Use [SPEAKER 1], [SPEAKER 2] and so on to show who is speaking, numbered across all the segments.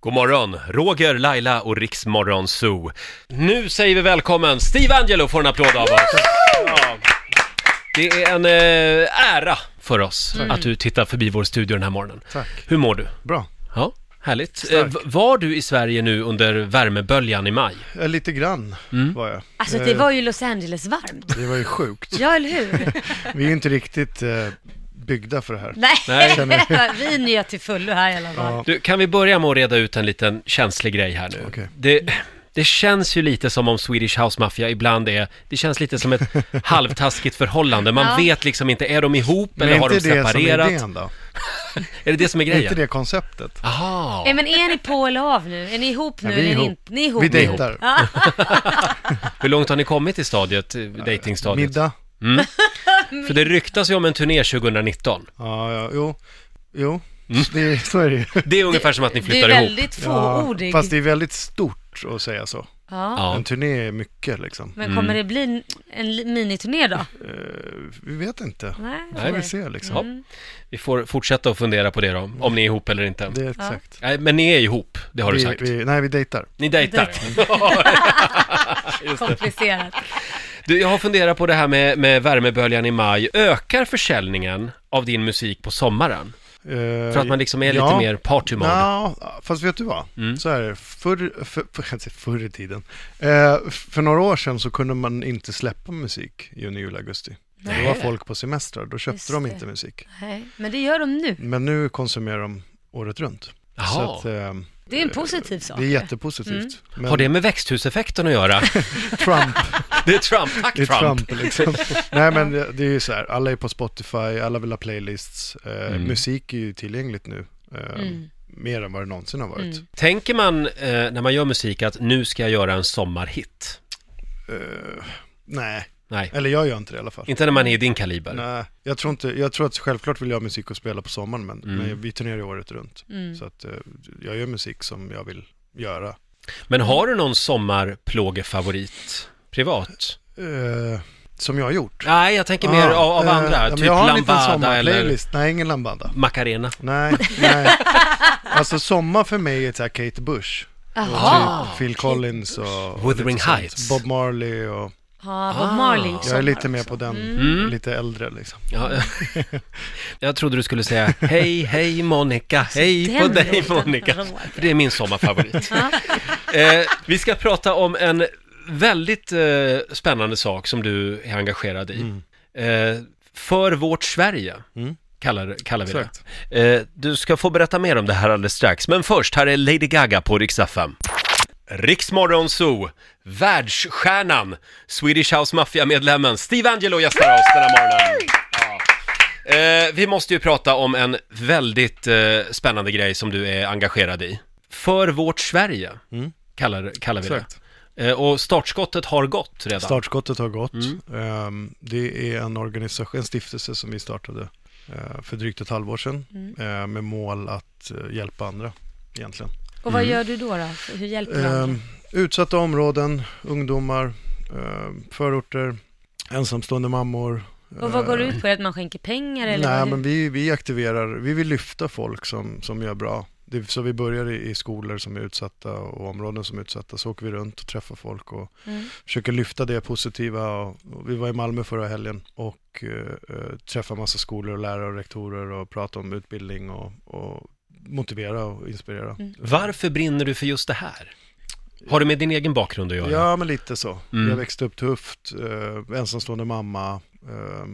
[SPEAKER 1] God morgon, Roger, Laila och Riksmorgon Zoo. Nu säger vi välkommen, Steve Angelo får en applåd av oss. Ja. Det är en eh, ära för oss
[SPEAKER 2] Mm.
[SPEAKER 1] att du tittar förbi vår studio den här morgonen.
[SPEAKER 2] Tack.
[SPEAKER 1] Hur mår du?
[SPEAKER 2] Bra.
[SPEAKER 1] Ja, härligt. Eh, v- var du i Sverige nu under värmeböljan i maj?
[SPEAKER 2] Eh, Lite grann
[SPEAKER 1] Mm.
[SPEAKER 2] var jag.
[SPEAKER 3] Alltså det var ju Los Angeles varmt.
[SPEAKER 2] Det var ju sjukt.
[SPEAKER 3] Ja, eller hur?
[SPEAKER 2] Vi är ju inte riktigt eh, byggda för det här.
[SPEAKER 3] Nej,
[SPEAKER 1] Nej.
[SPEAKER 3] vi njöt till fullo här i alla fall.
[SPEAKER 2] Ja.
[SPEAKER 1] Du, kan vi börja med att reda ut en liten känslig grej här nu?
[SPEAKER 2] Okej.
[SPEAKER 1] Det, det känns ju lite som om Swedish House Mafia ibland är, det känns lite som ett halvtaskigt förhållande. Man
[SPEAKER 3] Ja.
[SPEAKER 1] vet liksom inte, är de ihop eller
[SPEAKER 2] Men
[SPEAKER 1] har
[SPEAKER 2] är
[SPEAKER 1] de
[SPEAKER 2] inte det som
[SPEAKER 1] separerat?
[SPEAKER 2] är
[SPEAKER 1] är,
[SPEAKER 2] idén då?
[SPEAKER 1] det det som är
[SPEAKER 2] Är inte
[SPEAKER 1] grejen?
[SPEAKER 2] det konceptet?
[SPEAKER 1] Aha.
[SPEAKER 3] Eh, men är ni på eller av nu? Är ni ihop nu?
[SPEAKER 2] Ja, vi är
[SPEAKER 3] eller
[SPEAKER 2] ihop.
[SPEAKER 3] Inte? Ni är ihop
[SPEAKER 2] Vi
[SPEAKER 3] nu.
[SPEAKER 2] dejtar.
[SPEAKER 3] Ja,
[SPEAKER 1] Hur långt har ni kommit i stadiet, eh, datingstadiet?
[SPEAKER 2] Middag?
[SPEAKER 1] För det ryktas ju om en turné 2019.
[SPEAKER 2] Ja, ja, jo. Jo,
[SPEAKER 1] Mm.
[SPEAKER 2] det, så är det ju.
[SPEAKER 1] Det är ungefär som att ni
[SPEAKER 3] du är
[SPEAKER 1] flyttar ihop.
[SPEAKER 3] väldigt
[SPEAKER 2] Ja,
[SPEAKER 3] fåordig.
[SPEAKER 2] fast det är väldigt stort att säga så.
[SPEAKER 3] Ja.
[SPEAKER 1] Ja.
[SPEAKER 2] En turné är mycket liksom.
[SPEAKER 3] Men kommer det bli en- en li- miniturné då?
[SPEAKER 2] Eh, vi vet inte.
[SPEAKER 3] Nej,
[SPEAKER 2] Det får vi se liksom.
[SPEAKER 1] Ja. Vi får fortsätta att fundera på det då, om ni är ihop eller inte.
[SPEAKER 2] Det är exakt.
[SPEAKER 1] Nej, men ni är ihop, det har du
[SPEAKER 2] Vi,
[SPEAKER 1] sagt.
[SPEAKER 2] vi, nej, vi dejtar.
[SPEAKER 1] Ni dejtar.
[SPEAKER 3] komplicerat.
[SPEAKER 1] Du, jag har funderat på det här med, med värmeböljan i maj. Ökar försäljningen av din musik på sommaren? För att man liksom är lite mer party mode.
[SPEAKER 2] Eh,
[SPEAKER 1] Mm.
[SPEAKER 2] Ja, fast vet du vad? Så här är det. Förr, för, för, jag säger förr i tiden. Eh, för några år sedan så kunde man inte släppa musik juni, juli, augusti. Då var folk på semestrar, då köpte
[SPEAKER 3] Just
[SPEAKER 2] de
[SPEAKER 3] det.
[SPEAKER 2] inte musik.
[SPEAKER 3] Nej, men det gör de nu.
[SPEAKER 2] Men nu konsumerar de året runt. Så
[SPEAKER 1] Jaha.
[SPEAKER 2] att, eh,
[SPEAKER 3] Det är en positiv sak.
[SPEAKER 2] det är
[SPEAKER 3] Mm.
[SPEAKER 2] jättepositivt. Men
[SPEAKER 1] Har det med växthuseffekten att göra?
[SPEAKER 2] Trump,
[SPEAKER 1] Det är Trump, tack
[SPEAKER 2] det är
[SPEAKER 1] Trump.
[SPEAKER 2] Trump liksom. Nej men det det är ju så här, alla är på Spotify, alla vill ha playlists. Eh,
[SPEAKER 1] Mm.
[SPEAKER 2] Musik är ju tillgängligt nu. Eh,
[SPEAKER 3] Mm.
[SPEAKER 2] Mer än vad det någonsin har varit.
[SPEAKER 1] Tänker man eh, när man gör musik att nu ska jag göra en sommarhit?
[SPEAKER 3] Mm.
[SPEAKER 2] Eh, Nej,
[SPEAKER 1] Nej,
[SPEAKER 2] eller jag gör inte det i alla fall.
[SPEAKER 1] inte när man är i din kaliber.
[SPEAKER 2] Nej, jag tror inte, jag tror att självklart vill jag ha musik och spela på sommaren men,
[SPEAKER 1] Mm.
[SPEAKER 2] men vi turnerar ju året runt.
[SPEAKER 3] mm.
[SPEAKER 2] Så att eh, jag gör musik som jag vill göra.
[SPEAKER 1] Men har du någon sommarplågefavorit? Privat?
[SPEAKER 2] Eh, som jag har gjort.
[SPEAKER 1] Nej, jag tänker mer av, av
[SPEAKER 2] Ah, eh,
[SPEAKER 1] andra.
[SPEAKER 2] ja, men
[SPEAKER 1] typ
[SPEAKER 2] jag har en liten
[SPEAKER 1] Lambada eller
[SPEAKER 2] sommarplaylist. Nej, ingen Lambada.
[SPEAKER 1] Macarena.
[SPEAKER 2] Nej, nej. Alltså sommar för mig är så här Kate Bush.
[SPEAKER 3] Jaha.
[SPEAKER 2] Typ Phil Collins och...
[SPEAKER 1] Wuthering
[SPEAKER 2] och lite sånt.
[SPEAKER 1] Heights.
[SPEAKER 2] Bob Marley och...
[SPEAKER 3] Ja, Bob Marley.
[SPEAKER 2] Jag är
[SPEAKER 3] sommar
[SPEAKER 2] lite mer
[SPEAKER 3] också.
[SPEAKER 2] på den,
[SPEAKER 1] Mm.
[SPEAKER 2] lite äldre liksom.
[SPEAKER 1] Ja. Jag trodde du skulle säga hej, hej Monica, hej på
[SPEAKER 3] Den
[SPEAKER 1] dig
[SPEAKER 3] låten,
[SPEAKER 1] Monica.
[SPEAKER 3] Roger.
[SPEAKER 1] För det är min sommarfavorit. eh, vi ska prata om en väldigt eh, spännande sak som du är engagerad i. Eh, för vårt Sverige. Kallar, kallar vi
[SPEAKER 2] Exakt.
[SPEAKER 1] det. Eh, du ska få berätta mer om det här alldeles strax, men först, här är Lady Gaga på Rix FM. Riksmorgon Zoo, världsstjärnan, Swedish House Mafia-medlemmen Steve Angelo gästar oss den här morgonen. Ja. Eh, vi måste ju prata om en väldigt eh, spännande grej som du är engagerad i. För vårt Sverige, kallar, kallar vi
[SPEAKER 2] Mm.
[SPEAKER 1] det.
[SPEAKER 2] Exakt.
[SPEAKER 1] Eh, och startskottet har gått redan.
[SPEAKER 2] Startskottet har gått. Ehm, det är en organisation, en stiftelse som vi startade eh, för drygt ett halvår sedan
[SPEAKER 3] Mm.
[SPEAKER 2] eh, med mål att eh, hjälpa andra egentligen.
[SPEAKER 3] Och vad gör du då? då? Hur hjälper du andra?
[SPEAKER 2] Mm. Ehm, utsatta områden, ungdomar, ehm, förorter, ensamstående mammor.
[SPEAKER 3] Och vad går det ut på? Är det Att man skänker pengar eller?
[SPEAKER 2] eh. Nej,
[SPEAKER 3] vad-
[SPEAKER 2] men vi, vi aktiverar, vi vill lyfta folk som, som gör bra. Det, så vi börjar i, i skolor som är utsatta och områden som är utsatta. Så åker vi runt och träffar folk och
[SPEAKER 3] Mm.
[SPEAKER 2] försöker lyfta det positiva. Och, och vi var i Malmö förra helgen och eh, eh, träffade massa skolor och lärare och rektorer och pratade om utbildning och, och motivera och inspirera.
[SPEAKER 1] Varför brinner du för just det här? Har det med din egen bakgrund att göra?
[SPEAKER 2] Ja, men lite så.
[SPEAKER 1] Mm.
[SPEAKER 2] Jag växte upp tufft, eh, ensamstående mamma. Eh,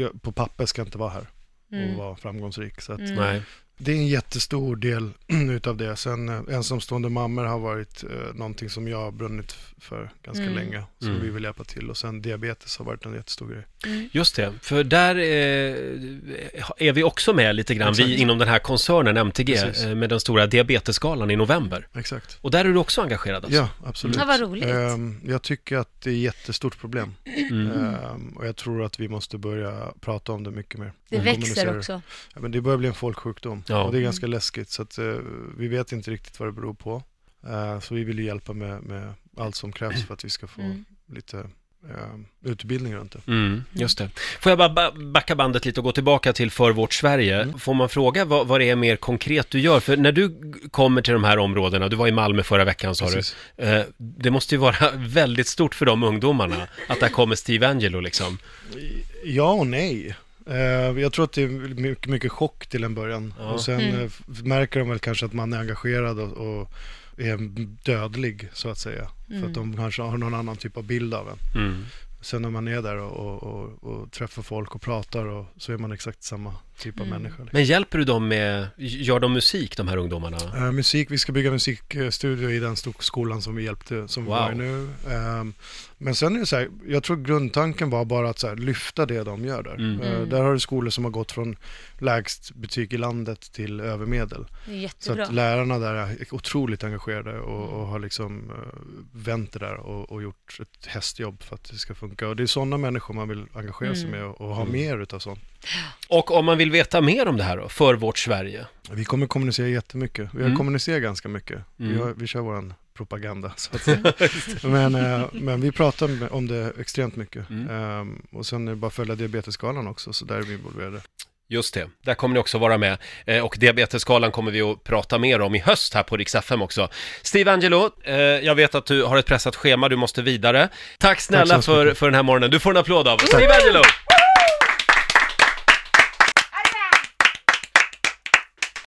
[SPEAKER 2] jag, på papper ska jag inte vara här
[SPEAKER 3] Mm.
[SPEAKER 2] och vara framgångsrik. Så att,
[SPEAKER 1] Mm. Nej.
[SPEAKER 2] Det är en jättestor del utav det. Sen eh, ensamstående mammor har varit eh, någonting som jag har brunnit f- för ganska länge. Som vi vill hjälpa till. Och sen diabetes har varit en jättestor grej.
[SPEAKER 1] Just det, för där eh, är vi också med lite grann, vi
[SPEAKER 2] Exakt.
[SPEAKER 1] inom den här koncernen MTG,
[SPEAKER 2] Precis.
[SPEAKER 1] eh, med den stora diabetesgalan i november.
[SPEAKER 2] Exakt.
[SPEAKER 1] Och där är du också engagerad alltså?
[SPEAKER 2] Ja, absolut.
[SPEAKER 3] Ja, vad roligt.
[SPEAKER 2] Ehm, Jag tycker att det är ett jättestort problem.
[SPEAKER 1] Mm.
[SPEAKER 2] Ehm, Och jag tror att vi måste börja prata om det mycket mer.
[SPEAKER 3] Det
[SPEAKER 2] Och
[SPEAKER 3] växer
[SPEAKER 2] kommunicera
[SPEAKER 3] också. Mm.
[SPEAKER 2] Ja, men det börjar bli en folksjukdom
[SPEAKER 1] Ja.
[SPEAKER 2] och det är ganska läskigt så att eh, vi vet inte riktigt vad det Ehm,
[SPEAKER 3] Mm.
[SPEAKER 2] beror på. Eh, så vi vill ju hjälpa med, med allt som krävs för att vi ska få lite eh, utbildning runt det.
[SPEAKER 1] Mm, just det. Får jag bara ba- backa bandet lite och gå tillbaka till För vårt Sverige. Får man fråga vad, vad det är mer konkret du gör? För när du g- kommer till de här områdena, du var i Malmö förra veckan sa
[SPEAKER 2] Precis.
[SPEAKER 1] du, eh, det måste ju vara väldigt stort för de ungdomarna att där kommer Steve Angelo liksom.
[SPEAKER 2] Ja och nej. Eh, Jag tror att det är mycket, mycket chock till en början.
[SPEAKER 1] Ja.
[SPEAKER 2] Och sen
[SPEAKER 3] Mm.
[SPEAKER 2] eh, f- märker de väl kanske att man är engagerad och, och är dödlig så att säga. För att
[SPEAKER 3] Mm.
[SPEAKER 2] de kanske har någon annan typ av bild av en.
[SPEAKER 1] Mm.
[SPEAKER 2] Sen när man är där och, och, och, och träffar folk och pratar och, så är man exakt samma typ av
[SPEAKER 3] Mm.
[SPEAKER 2] människa. Liksom.
[SPEAKER 1] Men hjälper du dem med, gör de musik de här ungdomarna?
[SPEAKER 2] Eh, musik, vi ska bygga musikstudio i den stor- skolan som vi hjälpte, som
[SPEAKER 1] Wow.
[SPEAKER 2] vi var i nu. Eh, men sen är det så här, jag tror grundtanken var bara att så här, lyfta det de gör där.
[SPEAKER 1] Mm.
[SPEAKER 2] Eh, där har du skolor som har gått från lägst betyg i landet till övermedel.
[SPEAKER 3] Det är
[SPEAKER 2] Så
[SPEAKER 3] jättebra.
[SPEAKER 2] att lärarna där är otroligt engagerade och, och har liksom eh, vänt det där och, och gjort ett hästjobb för att det ska funka. Och det är sådana människor man vill engagera sig
[SPEAKER 3] Mm.
[SPEAKER 2] med och, och ha mer utav sånt.
[SPEAKER 1] Och om man vill veta mer om det här då, För vårt Sverige?
[SPEAKER 2] Vi kommer kommunicera jättemycket. Vi har
[SPEAKER 1] Mm.
[SPEAKER 2] kommunicerat ganska mycket. Vi,
[SPEAKER 1] Mm.
[SPEAKER 2] har, vi kör vår propaganda, så att säga. men, eh, men vi pratar med- om det extremt mycket.
[SPEAKER 1] Mm.
[SPEAKER 2] Ehm, och sen är det bara att följa diabetesskalan också, så där är vi involverade.
[SPEAKER 1] Just det, där kommer ni också vara med. Eh, och diabetesskalan kommer vi att prata mer om i höst här på Rix FM också. Steve Angelo, eh, jag vet att du har ett pressat schema, du måste vidare. Tack snälla
[SPEAKER 2] så hemskt
[SPEAKER 1] för,
[SPEAKER 2] mycket.
[SPEAKER 1] för den här morgonen. Du får en applåd av oss. Steve Angelo!